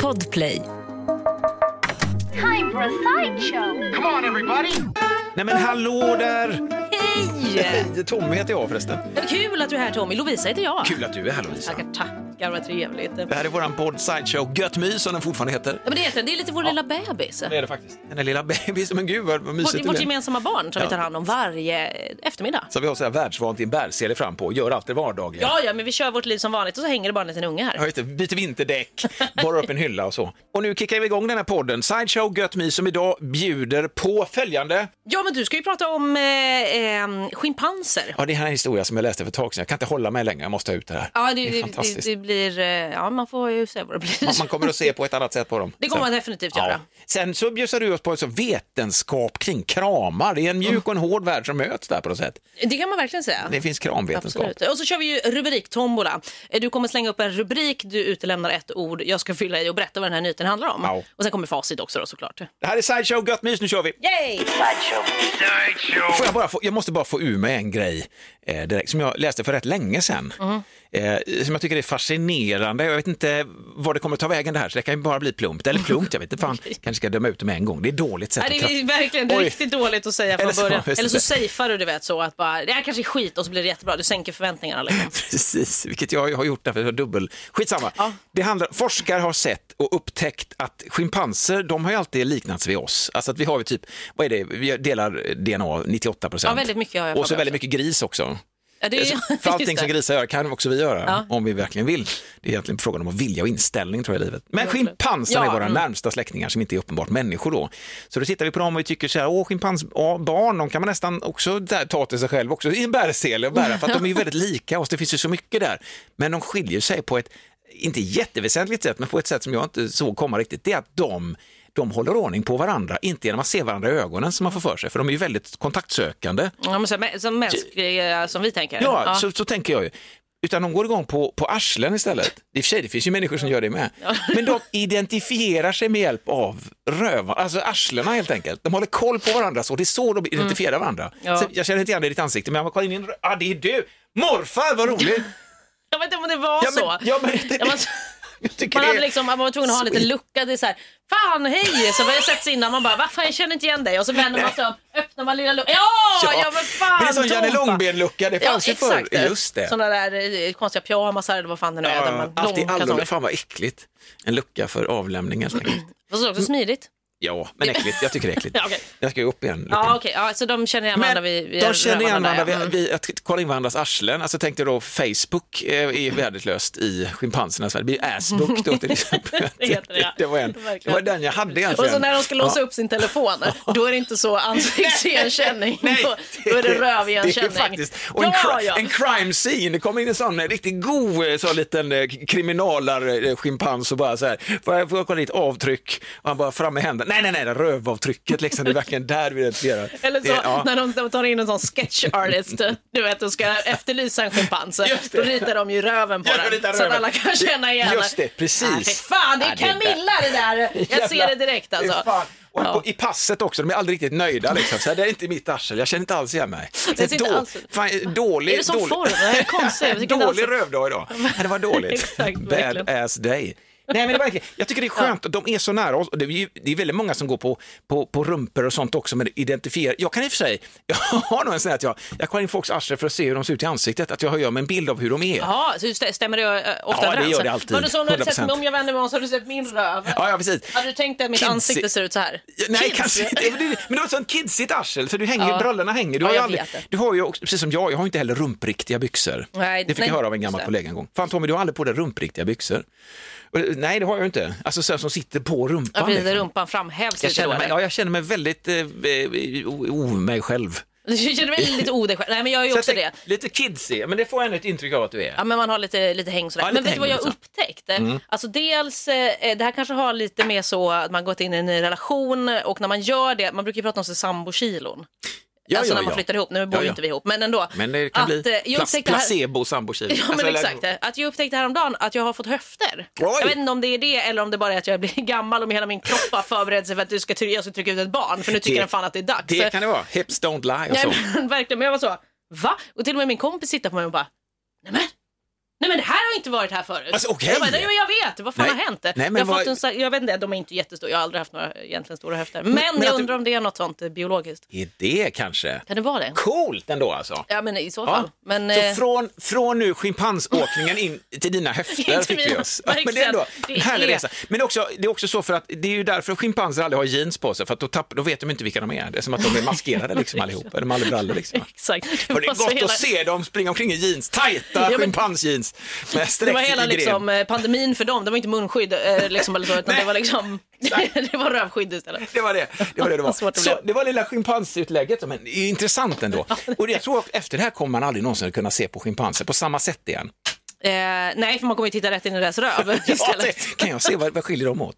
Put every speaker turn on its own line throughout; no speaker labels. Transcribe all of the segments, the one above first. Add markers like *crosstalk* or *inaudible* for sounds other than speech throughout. Podplay.
Time for a sideshow.
Come on everybody!
Nej men hallå där!
Hej!
Hej! Tommy heter jag förresten.
Vad Kul att du är här Tommy. Lovisa heter jag.
Kul att du är här Lovisa.
Tackar, tackar. Vad trevligt. Ja,
Det här är våran podd Sideshow Gött mys som den fortfarande heter.
men det, heter, den. det är lite vår lilla bebis.
är det faktiskt. Den här lilla bebisen, men gud vad, vad
Vårt,
mysigt det
vårt
blev.
gemensamma barn som vi
Ja.
tar hand om varje eftermiddag.
Så vi har så här världsvant i en bärsele fram på, gör allt det vardagliga.
Ja, ja, men vi kör vårt liv som vanligt och så hänger det bara en liten unge här.
Ja, just det. Byter vinterdäck, borrar upp en hylla och så. Och nu kickar vi igång den här podden, Sideshow Gött Mys, som idag bjuder på följande.
Ja, men du ska ju prata om eh, eh, schimpanser.
Ja, det här är en historia som jag läste för ett tag sedan. Jag kan inte hålla mig längre, jag måste ha ut det här.
Ja,
det,
det,
är
det, det,
fantastiskt.
det blir... eh, Ja, man får ju se vad det blir.
Man- Man kommer att se på ett annat sätt på dem.
Det kommer
Sen.
man definitivt göra.
Sen så bjussar du oss på alltså vetenskap kring kramar. Det är en
Mm.
mjuk och en hård värld som möts där på något sätt.
Det kan man verkligen säga.
Det finns kramvetenskap.
Absolut. Och så kör vi ju rubriktombola. Eh, Du kommer slänga upp en rubrik, du utelämnar ett ord, jag ska fylla i och berätta vad den här nyheten handlar om.
Ja.
Och sen kommer facit också då såklart.
Det här är Sideshow Gött Mys, nu kör vi!
Yay!
Får jag, bara få, jag måste bara få ur mig en grej eh, direkt, som jag läste för rätt länge sedan.
Mm.
Eh, som jag tycker är fascinerande. Jag vet inte var det kommer ta vägen det här, så det kan ju bara bli plumpt. Eller plumpt, jag vet inte. Fan,
*laughs*
kanske ska döma ut det med en gång. Det är dåligt sätt
Nej,
att
det är
kratta.
verkligen det är
Oj.
riktigt dåligt att säga från
Eller så-
början.
just
Eller så
det.
safear du, du vet så att bara, det här kanske är skit och så blir det jättebra, du sänker förväntningarna. Liksom.
Precis, vilket jag har gjort därför jag har dubbel. Skitsamma.
Ja.
Det handlar, forskare har sett och upptäckt att schimpanser, de har ju alltid liknats vid oss. Alltså att vi har ju typ, vad är det, vi delar DNA 98 procent.
Ja, väldigt mycket har jag för
Och så
mig
väldigt
också.
mycket gris också.
Ja, det är-
Alltså,
*laughs* just
För allting
det.
som grisar gör kan också vi göra,
Ja.
om vi verkligen vill. Det är egentligen frågan om att vilja och inställning tror jag i livet. Men schimpanser
Ja,
är våra
mm.
närmsta släktingar som inte är uppenbart människor då. Så då tittar vi på dem och vi tycker så här, åh schimpans, ja, barn, de kan man nästan också där, ta till sig själv också i en bärsele och bära, för att de
*laughs*
är ju väldigt lika oss, det finns ju så mycket där. Men de skiljer sig på ett, inte jätteväsentligt sätt, men på ett sätt som jag inte såg komma riktigt, det är att de de håller ordning på varandra, inte genom att se varandra i ögonen som man får för sig, för de är ju väldigt kontaktsökande.
Ja, men så, här, mä- som mänskliga, som vi tänker.
Ja, Så, så tänker jag ju. Utan de går igång på, på arslen istället. I och för sig, det finns ju människor som gör det med. Men de identifierar sig med hjälp av rövar, alltså arslena helt enkelt. De håller koll på varandra så, det är så de identifierar varandra.
Mm. Ja.
Så jag känner inte igen det i ditt ansikte, men jag kollar in i en rö- ah, det är du! Morfar,
*laughs*
vad roligt!
Jag vet inte om det var
Ja, men-
så.
ja, men det-
Ja, man-
*laughs* Jag tycker
man, hade
det är-
liksom, man var tvungen att ha en liten
Sweet.
lucka. Det är så här, fan hej! Så var jag sett sig innan man bara, vad fan jag känner inte igen dig. Och så vänder man sig om, öppnar man lilla luckan. liksom, Ja, ja, men fan!
Men det är som Janne
Tompa.
Långben-lucka, det fanns ju förr. Just det.
Sådana där eh, konstiga pyjamasar eller vad fan det nu är. där
Ja,
man-
alltid
långkartonger.
alldeles, fan vad äckligt. En lucka för avlämning helt enkelt.
Fast det är också smidigt.
Ja, men äckligt, jag tycker det är
*laughs*
äckligt.
Ja, okej.
Jag ska ju upp igen. luckan.
Ja, okej. Ja, så de känner igen varandra
Mm. Men
vid, vid
de känner igen
rövarna där,
varandra,
ja. Mm.
vi, vi, att kolla in varandras arslen. Alltså tänkte då Facebook eh, är värdelöst i schimpansernas värld.
*laughs*
Det blir assbook då till exempel.
Det heter det, ja.
det, var en, det
Verkligen.
var den jag hade egentligen.
Och så när de ska låsa upp sin telefon, då är det inte så *laughs* ansiktsigenkänning.
Nej,
då, då är det rövigenkänning.
Det är faktiskt, och en,
ja,
cri-
ja.
en crime scene, det kommer in en sån eh, riktigt god eh, sån liten eh, kriminalar-schimpans eh, och bara så här, får jag, får jag kolla ditt avtryck? Och han bara fram med händerna, nej nej nej, det är rövavtrycket liksom, det är verkligen där vi identifierar.
*laughs* Eller så
Det- ja.
när de, de tar in en sån sketch artist, du vet, och ska efterlysa en schimpans,
*laughs* Just det.
då ritar de ju röven på
Ja, de
den
ritar
så att
röven.
alla kan känna igen
Just det, precis.
Ah, fy fan, det är
Ja, det där.
Camilla det där! Jag ser
*laughs* Jävla-
det direkt alltså.
Fan. Och
Ja.
på, I passet också, de är aldrig riktigt nöjda. Liksom. Så här, det är inte mitt arsel, jag känner inte alls igen mig.
Det ser inte
Då-
alls ut.
fan, dålig,
Är det sån
dålig,
form? Det är
Alltså, *laughs*
konstigt. Jag tycker inte alls-
dålig rövdag idag. Nej, det var
*laughs*
dåligt.
Exakt, verkligen.
Bad ass day. Nej, men det är verkligen, jag tycker det är skönt, att de är så nära oss. Och Det är, ju, det är väldigt många som går på, på, på rumpor och sånt också, men identifierar. Jag kan i och för sig, *laughs* jag har nog en sån här att jag, jag kollar in folks arsel för att se hur de ser ut i ansiktet, att jag gör mig en bild av hur de är.
Jaha, så just det, stämmer det eh, ofta
Ja, det
överens?
gör det alltid.
Var det så när du sett,
100%.
om jag vänder mig om så har du sett min röv?
Ja, ja, precis.
Hade du tänkt dig att mitt
Kidsy-
ansikte ser ut så här?
Ja, Nej,
Kids.
kanske inte. Men det- Men du har ett sånt kidsigt arsel, för du hänger,
Ja.
brallorna hänger. Du
Ja,
har, ju
jag
aldrig,
vet det.
du har ju, också- precis som jag, jag har inte heller rumpriktiga byxor.
Nej,
det fick
nej,
jag höra av en gammal
just det.
kollega en gång. Fan Tommy, du har aldrig på dig rumpriktiga byxor. Och, det- nej, det har jag inte. Alltså sådana som sitter på rumpan.
Ja, precis,
liksom.
där rumpan framhävs lite
jag,
då.
känner mig,
eller?
ja, jag känner mig väldigt eh, eh, o, o, mig själv.
Du *laughs* känner mig lite odeg själv. Nej, men jag är ju
Så
också
jag
det.
tänker, Lite kidsig, men det får jag ändå ett intryck av att du är.
Ja, men man har lite, lite häng sådär.
Ja, lite
men vet du
häng,
vad jag
liksom.
upptäckte? Alltså dels, eh, det här kanske har lite med så att man gått in i en ny relation och när man gör det, man brukar ju prata om sig sambokilon.
Ja,
alltså
ja,
när man
ja.
flyttar ihop, nu bor ju
Ja, ja.
inte vi ihop, men ändå.
Men det kan
att,
bli
eh, jag
pla-
upptäckte här-
placebo Alltså, sambokyl.
*laughs* Ja men exakt, att jag upptäckte häromdagen att jag har fått höfter.
Oj!
Jag vet inte om det är det eller om det bara är att jag blir *laughs* gammal och hela min kropp har förberett sig för att du ska, ty- jag ska trycka ut ett barn för nu tycker
Det-
den fan att det är dags.
Det kan det vara. Hips don't lie och
*laughs*
så.
Nej, men, verkligen, men jag var så, va? Och till och med min kompis tittade på mig och bara, nej men Nej men det här har inte varit här förut.
Alltså, okej.
jag, bara, nej, men jag vet, vad fan
Nej.
har hänt?
Nej, men
jag, har
vad-
fått en, sa- jag vet inte, de är inte jättestora, jag har aldrig haft några egentligen stora höfter. Men,
men
jag
att du-
undrar om det är något sånt eh, biologiskt.
Är det kanske?
Kan det vara det?
Coolt ändå alltså.
Ja men i så
Ja.
fall. Men, eh,
så från, från nu schimpansåkningen in till dina höfter
Inte
fick vi
mina,
oss. Ja, men det
*laughs*
är
verkligen.
ändå
Det
en härlig
är-
resa. Men det är, också, det är också så för att det är ju därför schimpanser aldrig har jeans på sig, för att då, tapp, då vet de inte vilka de är. Det är som att de är
*laughs*
maskerade liksom allihop, de har aldrig brallor liksom.
*laughs* exakt.
Och det är
var så
gott att se dem springa omkring i jeans, tajta
Ja, men-
schimpansjeans med
*laughs* Det var
sträckig
hela
gren.
liksom, eh, pandemin för dem, det var inte munskydd eh, liksom, eller så, utan det var
*laughs*
liksom, *laughs* det var rövskydd istället.
Det var det det var. Det, det var.
Vad *laughs* svårt det
så,
blev.
det var lilla schimpansutlägget, men det är
*laughs*
intressant ändå. Och jag tror att efter det här kommer man aldrig någonsin kunna se på schimpanser på samma sätt igen.
Eh, nej, för man kommer ju titta rätt in i deras röv
*laughs* Ja,
istället.
det, kan jag se, vad, vad skiljer de åt?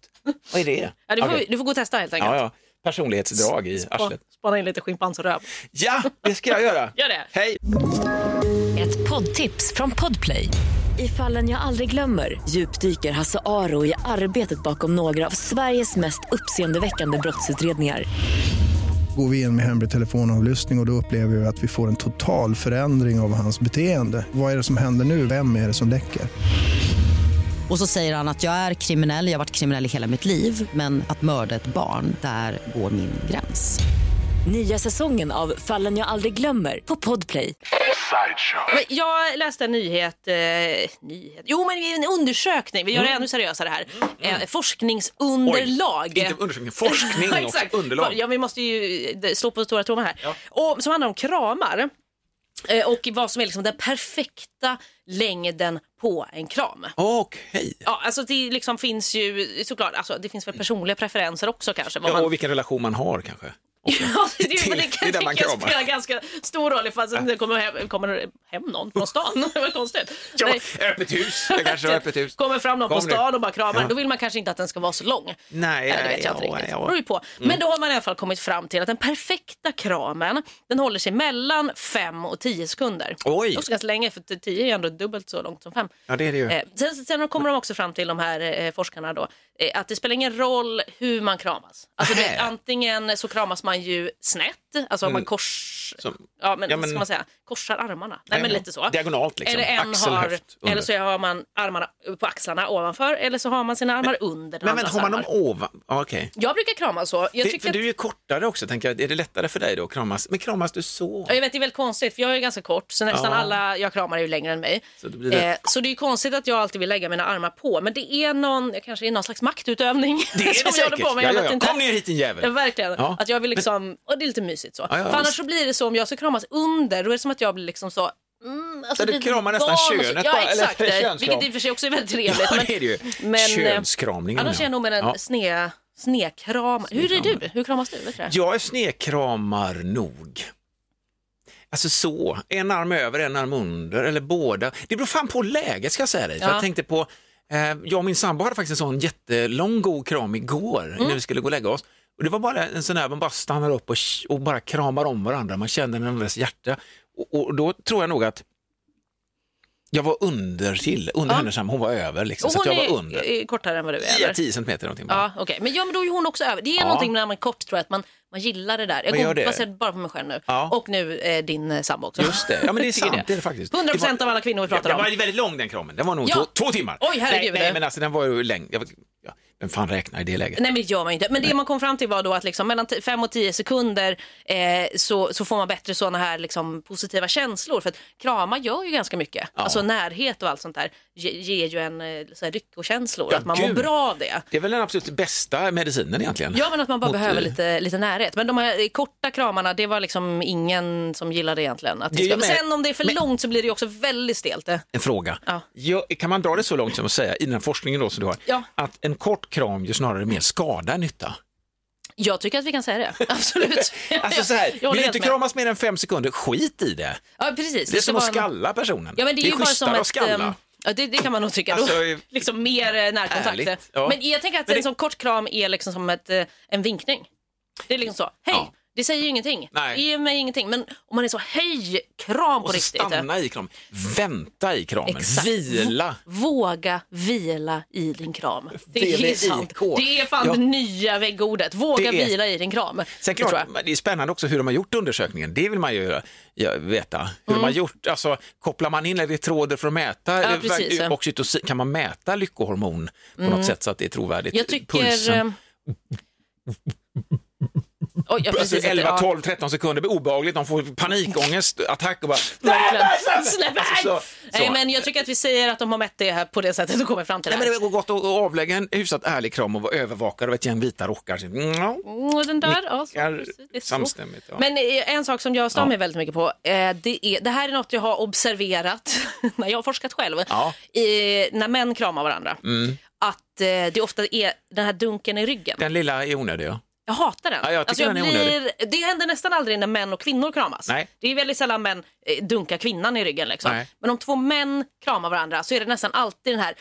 Vad är det?
Ja, du, får,
Okej.
du får gå och testa helt enkelt.
ja, ja. Personlighetsdrag i
Spa-
arslet.
Spana in lite schimpansröv.
Ja, det ska jag göra.
Gör det.
Hej!
Ett poddtips från Podplay. I fallen jag aldrig glömmer djupdyker Hasse Aro i arbetet bakom några av Sveriges mest uppseendeväckande brottsutredningar.
Går vi in med hemlig telefonavlyssning och, och då upplever vi att vi får en total förändring av hans beteende. Vad är det som händer nu? Vem är det som läcker?
Och så säger han att jag är kriminell, jag har varit kriminell i hela mitt liv men att mörda ett barn, där går min gräns.
Nya säsongen av Fallen jag aldrig glömmer på Podplay.
Sideshow.
Men jag läste en nyhet, eh, nyhet. Jo, men det är en undersökning. Vi gör det
Mm.
ännu seriösare här. Eh, forskningsunderlag.
Oj, inte undersökning, forskning
*laughs* Ja,
och underlag.
Ja, vi måste ju eh, slå på stora trumman här. Och, som handlar om kramar. eh, Och vad som är liksom den perfekta längden på en kram.
Okej.
Ja, alltså det liksom finns ju såklart, alltså det finns väl personliga preferenser också kanske. vad
Ja,
man-
och vilken relation man har kanske.
Ja, det, det,
Det-
det,
det är
kan
där man
tänkas
kramar.
spela ganska stor roll ifall det kommer hem, kommer hem någon från stan. *laughs* Det var konstigt.
Ja,
Nej.
öppet hus. Det kanske är öppet hus.
Kommer fram någon
Kom
på
nu.
stan och bara kramar,
Ja.
då vill man kanske inte att den ska vara så lång.
Nej,
Eller, det vet jag
ja,
inte riktigt.
ja.
Det
Mm.
beror ju på. Men då har man i alla fall kommit fram till att den perfekta kramen, den håller sig mellan 5 och 10 sekunder.
Oj.
Det är också ganska länge, för 10 är ju ändå dubbelt så långt som 5.
Ja, det är det ju.
Eh, sen, sen kommer de också fram till, de här eh, forskarna, då, eh, att det spelar ingen roll hur man kramas. Alltså, det,
Nej.
antingen så kramas man ju snett, alltså om man kors...
Mm. Som-
ja, men,
ja,
ja,
men-
men, ska man säga, korsar armarna. Nej, men
ja.
lite så.
Diagonalt liksom.
Eller, en
Axel,
har,
höft, under.
eller så har man armarna på axlarna ovanför eller så har man sina armar under den
Men, men
andras
har man dem
armar.
ovan? Ja, Okej.
Jag brukar krama så. Jag,
Det,
tycker
för
att,
du är ju kortare också, tänker jag. Är det lättare för dig då att kramas? Men kramas du så?
Ja, jag vet, det är väldigt konstigt för jag är ganska kort så nästan
Ja.
alla jag kramar är ju längre än mig.
Så det blir det-
Eh, så det är ju konstigt att jag alltid vill lägga mina armar på men det är någon, jag kanske är någon slags maktutövning *laughs*
Det är det
som jag håller
säkert.
på med. Jag
Ja, ja,
vet
ja.
inte.
Kom ner hit, din jävel.
Ja, verkligen.
Ja.
Att jag vill liksom, och det är lite mysigt så.
Ja, ja,
för annars
visst.
så blir det så om jag ska kramas under då är det som att jag blir liksom så Mm, alltså
Så du
lite
kramar nästan
barn och så-
könet
ja,
bara, eller *laughs*
exakt.
könskram.
vilket i och för sig också är väldigt
*laughs* Ja,
trevligt.
det är det ju.
men, eh,
Könskramning.
Annars är jag nog med en
Ja.
sne, snekram. Hur är du? Hur kramas du? Vet du det?
Jag är snekramar nog. Alltså så, en arm över, en arm under eller båda. Det beror fan på läget ska jag säga dig. För
Ja.
jag tänkte på, eh, jag och min sambo hade faktiskt en sån jättelång god kram igår
Mm.
när vi skulle gå och lägga oss. Och det var bara en sån där, man bara stannar upp och, och bara kramar om varandra, man känner den andras hjärta. Och, och då tror jag nog att jag var under till, under
Ja.
hennes arm, hon var över liksom.
Och
Så att jag
hon
var
är,
under.
är kortare än vad du är? eller?
10 centimeter någonting bara.
Ja, okej. Men, ja, men då är hon också över. Det är
Ja.
någonting när man är kort tror jag, att man, man gillar det där. Jag
Man gör det.
går baserat bara på mig själv nu.
Ja.
Och nu eh, din eh, sambo också.
Just det, ja men det är
Jag *laughs* tycker
sant. Det är det faktiskt.
100
Det var-
av alla kvinnor vi pratar
ja,
om.
Den var väldigt lång den kramen, den var nog
Ja.
två, två timmar.
Oj, herregud.
Nej, nej men alltså den var ju längre. Jag, vet- ja, vem fan räknar i det läget?
Nej men det gör man ju inte. Men det man kom fram till var då att liksom mellan 5 och 10 sekunder eh, så, så får man bättre sådana här liksom, positiva känslor. För att krama gör ju ganska mycket. Alltså närhet och allt sånt där ge, ger ju en eh, så här, ryckokänslor.
Ja,
att man
gud.
mår bra av det.
Det är väl den absolut bästa medicinen egentligen.
Ja men att man bara
Mot,
behöver
eh,
lite, lite närhet. Men de här korta kramarna det var liksom ingen som gillade egentligen. Att
Det är
det
ju
ska... men
med-
Sen om det är för
men-
långt så blir det ju också väldigt stelt. eh.
En fråga.
Ja.
Ja, kan man dra det så långt som att säga, i den här forskningen då som du har,
Ja.
att en kort kram gör snarare mer skada än nytta?
Jag tycker att vi kan säga
*laughs*
det, absolut.
Alltså så här,
*laughs* Jag håller
vill du
helt
inte
med.
kramas mer än fem sekunder, skit i det.
Ja precis.
Det
ska
är som att
vara en-
skalla personen.
Ja, men det är, ju bara som
schysstare
ett,
att skalla.
ehm, Ja, det, det kan man nog tycka.
Alltså,
då.
eh,
*laughs* liksom mer eh, närkontakt.
ärligt, ja.
Men jag tänker att
Men det-
en sån kort kram är liksom som ett, eh, en vinkning. Det är liksom så, hej,
Ja.
Det säger ju ingenting.
Nej.
Det ger mig ingenting. Men om man är så hej, kram på
Och så
riktigt. eh.
stanna i kramen, vänta i kramen,
Exakt.
vila.
Våga vila i din kram. Det är
VVIK.
sant. Det är fan
Ja.
det nya väggordet. Våga
Det är-
vila i din kram.
Sen
Det tror
klart,
jag.
det är spännande också hur de har gjort undersökningen. Det vill man ju ja, veta. Hur de har gjort, alltså, kopplar man in elektroder för att mäta
Mm. Ja, precis, ja. Mm.
oxytocin? Kan man mäta lyckohormon på något sätt så att det är trovärdigt?
Jag tycker...
Pulsen.
ehm, Oj, jag
Alltså
precis
11,
inte-
12, 13 sekunder blir obehagligt. De får panikångest, attack och bara...
Verkligen. Släpp
Alltså,
iväg!
så-
Nej,
så.
men jag tycker att vi säger att de har mätt det här på det sättet och kommer fram till det
Nej,
här.
men det går gott att att avlägga en hyfsat ärlig kram och vara övervakad av ett gäng vita rockar. Så, mm, ja,
Mm, den där, ja, så,
nickar
precis, det är så.
samstämmigt. Ja.
Men eh, en sak som jag stör
Ja.
mig väldigt mycket på, eh, det, är, det här är något jag har observerat *laughs* när jag har forskat själv,
Ja. Mm.
eh, när män kramar varandra, att eh, det ofta är den här dunken i ryggen.
Den lilla är onödig, ja.
Jag hatar den.
Ja, jag tycker den är onödig.
det händer nästan aldrig när män och kvinnor kramas.
Nej.
Det är väldigt sällan män eh, dunkar kvinnan i ryggen. Liksom.
Nej.
Men om två män kramar varandra så är det nästan alltid den här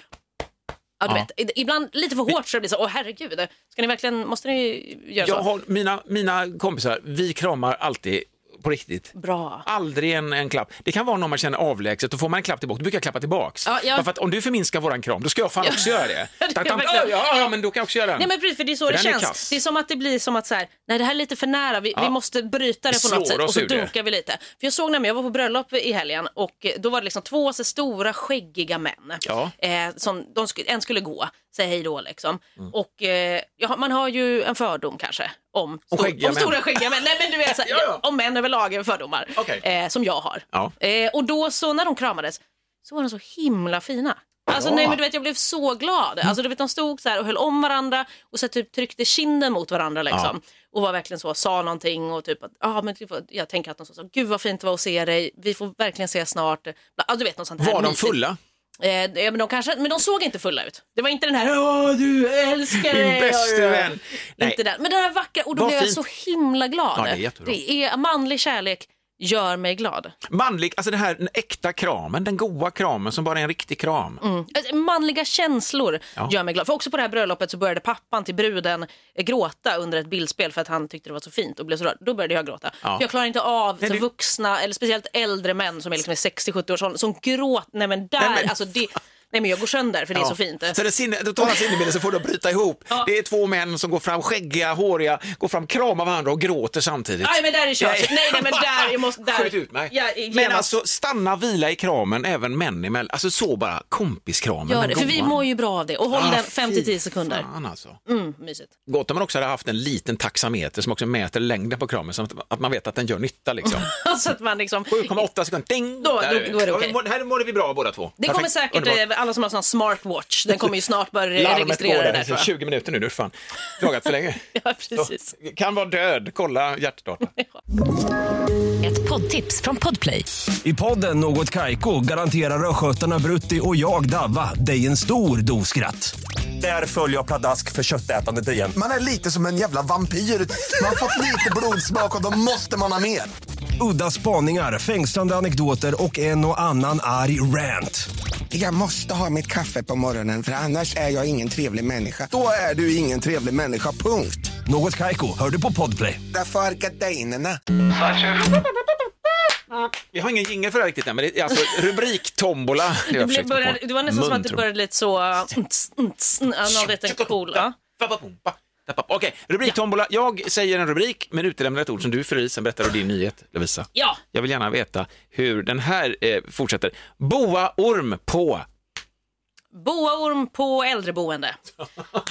Ja, du
Ja.
Vet, i- ibland lite för hårt så det blir så, åh herregud, ska ni verkligen, måste ni göra så?
Jag har, mina, mina kompisar, vi kramar alltid på riktigt.
Bra.
Aldrig en, en klapp. Det kan vara någon man känner avlägset, då får man en klapp tillbaka, då brukar jag klappa tillbaks.
Ja, ja.
Därför att om du förminskar våran kram, då ska jag fan också göra det.
*laughs* det
Tack,
kan
tack.
jag
ja,
verkligen.
ja, ja, men då kan jag också göra den.
Nej men precis, för det är så
För
det
den är
känns.
kass.
Det är som att det blir som att så här, nej det här är lite för nära, vi,
Ja.
vi måste bryta det
Vi
på något
slår
sätt
oss
och så
ur det.
dunkar vi lite. För jag såg nämligen, jag var på bröllop i helgen och eh, då var det liksom två så stora skäggiga män.
Ja.
Eh, som de sk- en skulle gå, säga hej då liksom.
Mm.
Och eh, ja, man har ju en fördom kanske om,
Om skäggiga
om
män.
stora skäggiga män. Nej men du vet, så här,
*laughs* Ja, ja.
om män överlag är fördomar
Okej.
eh, som jag har.
Ja.
Eh, och då så när de kramades så var de så himla fina. Alltså nej men du vet jag blev så glad.
Mm.
Alltså du vet de stod så här och höll om varandra och så typ tryckte kinden mot varandra liksom. Och var verkligen så, sa någonting och typ att, ah, men typ, jag tänker att de sa så, gud vad fint det var att se dig, vi får verkligen ses snart. Ja, du vet något sånt här
Var de
mysigt.
fulla?
Eh, ja, men, de kanske, men de såg inte fulla ut. Det var inte den här Åh, du älskar
Min
dig.
bästa
Ja, ja.
vän. Nej.
Inte den. Men den här vackra, och då
Vad
blev jag
fint.
så himla glad.
Ja, det är jättebra.
Det är- manlig kärlek gör mig glad.
Manlig, alltså den här den äkta kramen, den goa kramen som bara är en riktig kram.
Mm. Alltså, Manliga känslor
Ja.
gör mig glad. För också på det här bröllopet så började pappan till bruden eh, gråta under ett bildspel för att han tyckte det var så fint och blev så rörd. Då började jag gråta.
Ja.
För jag klarar inte av
Nej,
så
du-
vuxna, eller speciellt äldre män som är liksom i 60-70 års ålder, som gråter. Nej men där,
Nej, men-
alltså det, nej men jag går sönder för det är så fint.
Så det sinne, totala sinnebilden så får de bryta ihop.
Ja.
Det är två män som går fram skäggiga, håriga, går fram, kramar varandra och gråter samtidigt.
Nej men där är kört.
Nej.
Nej, nej men där, jag måste, där.
Skjut ut mig.
Ja,
men alltså stanna, vila i kramen, även män emellan. Alltså så bara, kompiskramen.
Gör
den
det, för vi
goa.
mår ju bra av det. Och håll
Ah,
den 5 till
fy
10 sekunder.
Fan alltså.
Mm, mysigt. *laughs*
Gott om man också hade haft en liten taxameter som också mäter längden på kramen så att- att man vet att den gör nytta.
*laughs*
Liksom.
så att man liksom...
7,8 sekunder, ding!
Då-
Där
då- då är det
vi.
okej.
Ja, vi- Här mår vi bra båda två.
Det kommer
Perfekt.
säkert,
Underbart.
eh, alla som har sån här smartwatch, den kommer ju snart börja
Larmet går
registrera det där
där,
tror jag.
20 minuter nu, du
*laughs*
har fan klagat för länge.
Ja, precis.
Kan vara död, kolla hjärtstarten.
Ett poddtips från Podplay.
I podden Något Kaiko garanterar östgötarna Brutti och jag, Davva, dig en stor dos skratt. Där följer jag pladask för köttätandet igen.
Man är lite som en jävla vampyr. Man har fått lite blodsmak och då måste man ha mer.
Udda spaningar, fängslande anekdoter och en och annan arg rant.
Jag måste ha mitt kaffe på morgonen för annars är jag ingen trevlig människa. Då är du ingen trevlig människa, punkt.
Något Kaiko, hör du på Podplay.
Därför är gardinerna.
Vi har ingen jingel för det här riktigt än, men det är alltså rubriktombola. Det,
Det, blev började, det var nästan som att det började lite så... uh, nts, nts, n- ja, Någon vet en cool... ja.
Okej, rubriktombola. Jag säger en rubrik, men utelämnar ett ord som du fyller i, sen berättar du din nyhet, Lovisa.
Ja,
Jag vill gärna veta hur den här eh, fortsätter. Boa orm på.
boaorm på äldreboende.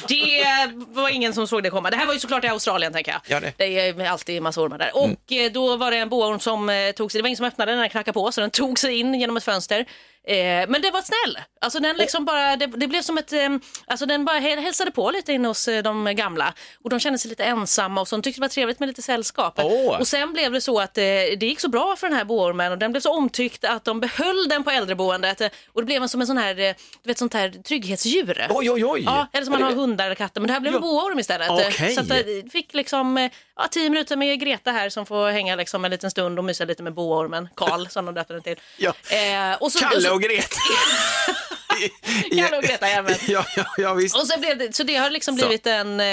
Det var ingen som såg det komma. Det här var ju såklart i Australien tänker jag.
Ja, det. Mm.
är alltid en massa ormar där. Och eh, då var det en boaorm som eh, tog sig, det var ingen som öppnade den, den knackade på så den tog sig in genom ett fönster. Eh, men det var snäll. Alltså den liksom bara, det, det blev som ett, eh, alltså den bara hä- hälsade på lite inne hos eh, de gamla. Och de kände sig lite ensamma och så de tyckte det var trevligt med lite sällskap.
Åh.
Och sen blev det så att eh, det gick så bra för den här boormen och den blev så omtyckt att de behöll den på äldreboendet. eh, Och det blev en som en sån här, eh, du vet sånt här trygghetsdjur.
Oj, oj, oj.
Ja, eller som man har hundar eller katter. Men det här blev en boorm istället. Eh,
Okej.
Så att jag fick liksom eh, ja, tio minuter med Greta här som får hänga liksom en liten stund och mysa lite med boormen. Karl som de döpte den till.
*laughs* Ja.
Eh, och så, och *laughs*
Kalle
så,
och Greta.
Kalle och Greta, jajamän.
*laughs* ja, ja, ja, visst.
Och sen blev det, så det har liksom
Så.
blivit en, eh,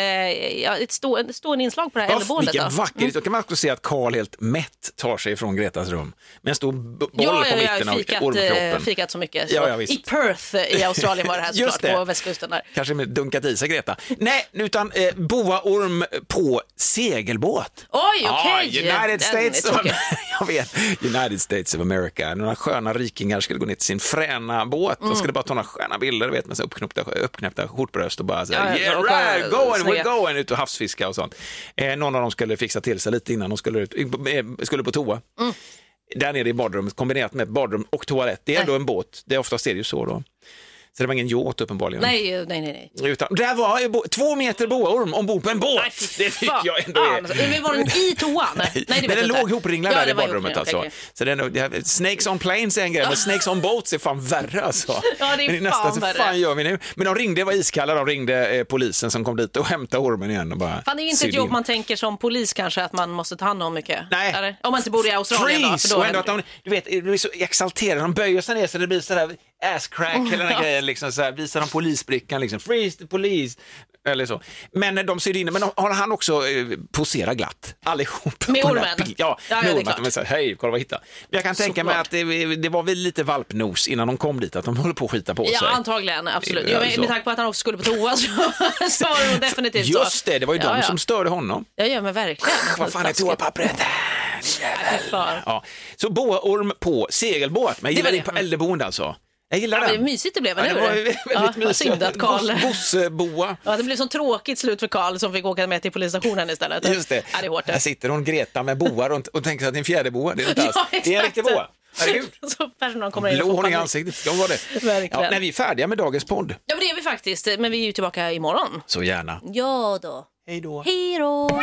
ja, ett stå, ett stående inslag på det här
Ja,
äldreboendet.
vilken
då. Mm.
vacker Då kan man också se att Karl helt mätt tar sig från Gretas rum med en stor b- boll
Ja,
på
ja, ja,
mitten
jag har fikat,
av
eh,
ormkroppen.
fikat så mycket. Så.
Ja, ja, visst.
I Perth eh, i Australien
*laughs*
var det här
Just
såklart,
det.
på västkusten där.
Kanske med dunkat i sig Greta. Nej, utan eh, boaorm på segelbåt.
Oj,
Ja,
okej. Den är
Ah, United States of,
tråkig.
*laughs* jag vet, United States of America. Några sköna rikingar skulle gå ner till sin fräna båt och
Mm.
skulle bara ta några sköna bilder vet, med sina uppknäppta, uppknäppta skjortbröst och bara
Ja,
säga
ja,
yeah
och kolla,
right, going,
snygga."
we're going, ut och havsfiska och sånt. Eh, någon av dem skulle fixa till sig lite innan de skulle, ut, eh, skulle på toa.
Mm.
Där nere i badrummet kombinerat med badrum och toalett. Det är ändå en båt, det är oftast är det ju så då. Så det var ingen yacht uppenbarligen.
Nej, eh, nej, nej. nej.
Utan, där var ju bo, två meter boaorm ombord på en båt.
Nej, fy
det fick
fan.
jag ändå
Ah,
ge.
alltså, men var den i toan?
*laughs*
Nej, det vet
men den
jag inte.
låg ihopringlad
Ja,
där i
den var
badrummet
ihopringlad,
alltså.
okej, okej.
Så det är nog- det här, snakes on planes är en grej, men snakes on boats är fan värre alltså.
*laughs* Ja, det är
men
fan
så
värre.
fan gör vi nu? Men de ringde, var iskalla, de ringde eh, polisen som kom dit och hämtade ormen igen och bara
Fan, det är ju inte ett
sydde
jobb
in.
man tänker som polis kanske, att man måste ta hand om mycket.
Nej.
Eller? Om man inte bor i Australien då,
Freeze!
för då
och ändå
händer
att de, du vet, de är så exalterade, de böjer sig ner så det blir sådär ass crack, hela
*laughs*
den här grejen, liksom så här, visar de polisbrickan, liksom, freeze the police, eller så. Men de sydde in men de, har han också eh, poserat glatt, allihop.
Med
på den här
ormen?
bilden. Ja,
Ja, ja, det är
med ormen.
klart.
Att de är så här, hej, kolla vad jag hittade. Men jag kan tänka mig
Såklart.
att det, det var väl lite valpnos innan de kom dit, att de håller på att skita på
Ja,
sig.
antagligen. Absolut.
Ja,
Ja, men
så.
med tanke på att han också skulle på toa så, så var det nog definitivt så.
Just det, det var ju
ja,
de
ja.
som störde honom.
Ja, ja, men verkligen.
Vad fan
*laughs*
är toapappret?
Fan.
Ja. Så boaorm på segelbåt, men jag
var
gillar
det.
det på äldreboende alltså. Jag gillar
Ja,
den.
men mysigt det blev, eller
ja, det
hur?
var ju väldigt
Ja, vad
mysigt.
synd att Karl-
Goss- Gosseboa.
Ja, det blev så tråkigt slut för Karl som fick åka med till polisstationen istället.
Just det.
Ja, det är hårt
Här
det.
sitter hon Greta med boa runt och tänker sig att det är en fjäderboa. Det är det inte
*laughs* Ja,
alls. det är en riktig
exakt.
boa. Herregud.
*laughs* Så personalen kommer in och får
Blå hon i
panik.
ansiktet, ska hon vara det.
Verkligen.
Ja, när vi är färdiga med dagens podd,
Ja, men det är vi faktiskt. Men vi är ju tillbaka imorgon.
så gärna.
Ja då. Hej då. Hej då.